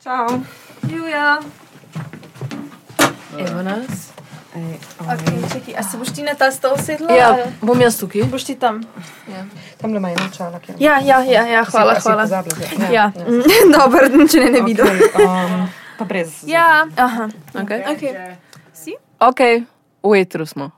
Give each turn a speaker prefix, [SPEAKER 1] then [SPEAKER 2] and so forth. [SPEAKER 1] Ciao.
[SPEAKER 2] Julia.
[SPEAKER 3] Evo nas.
[SPEAKER 1] Ej,
[SPEAKER 2] Okay, čekaj, a se boš ti na ta stol sedla? Ja.
[SPEAKER 3] Ja, bom jaz tukaj.
[SPEAKER 2] Boš ti tam?
[SPEAKER 1] Tam le ima eno čalo, ki
[SPEAKER 2] Ja, ja, ja, ja hvala, hvala. Ja, dober, če ne, ne vidim.
[SPEAKER 1] Um, pa brez.
[SPEAKER 2] Ja, aha.
[SPEAKER 3] Okay.
[SPEAKER 2] Okay.
[SPEAKER 3] ok, v etru smo.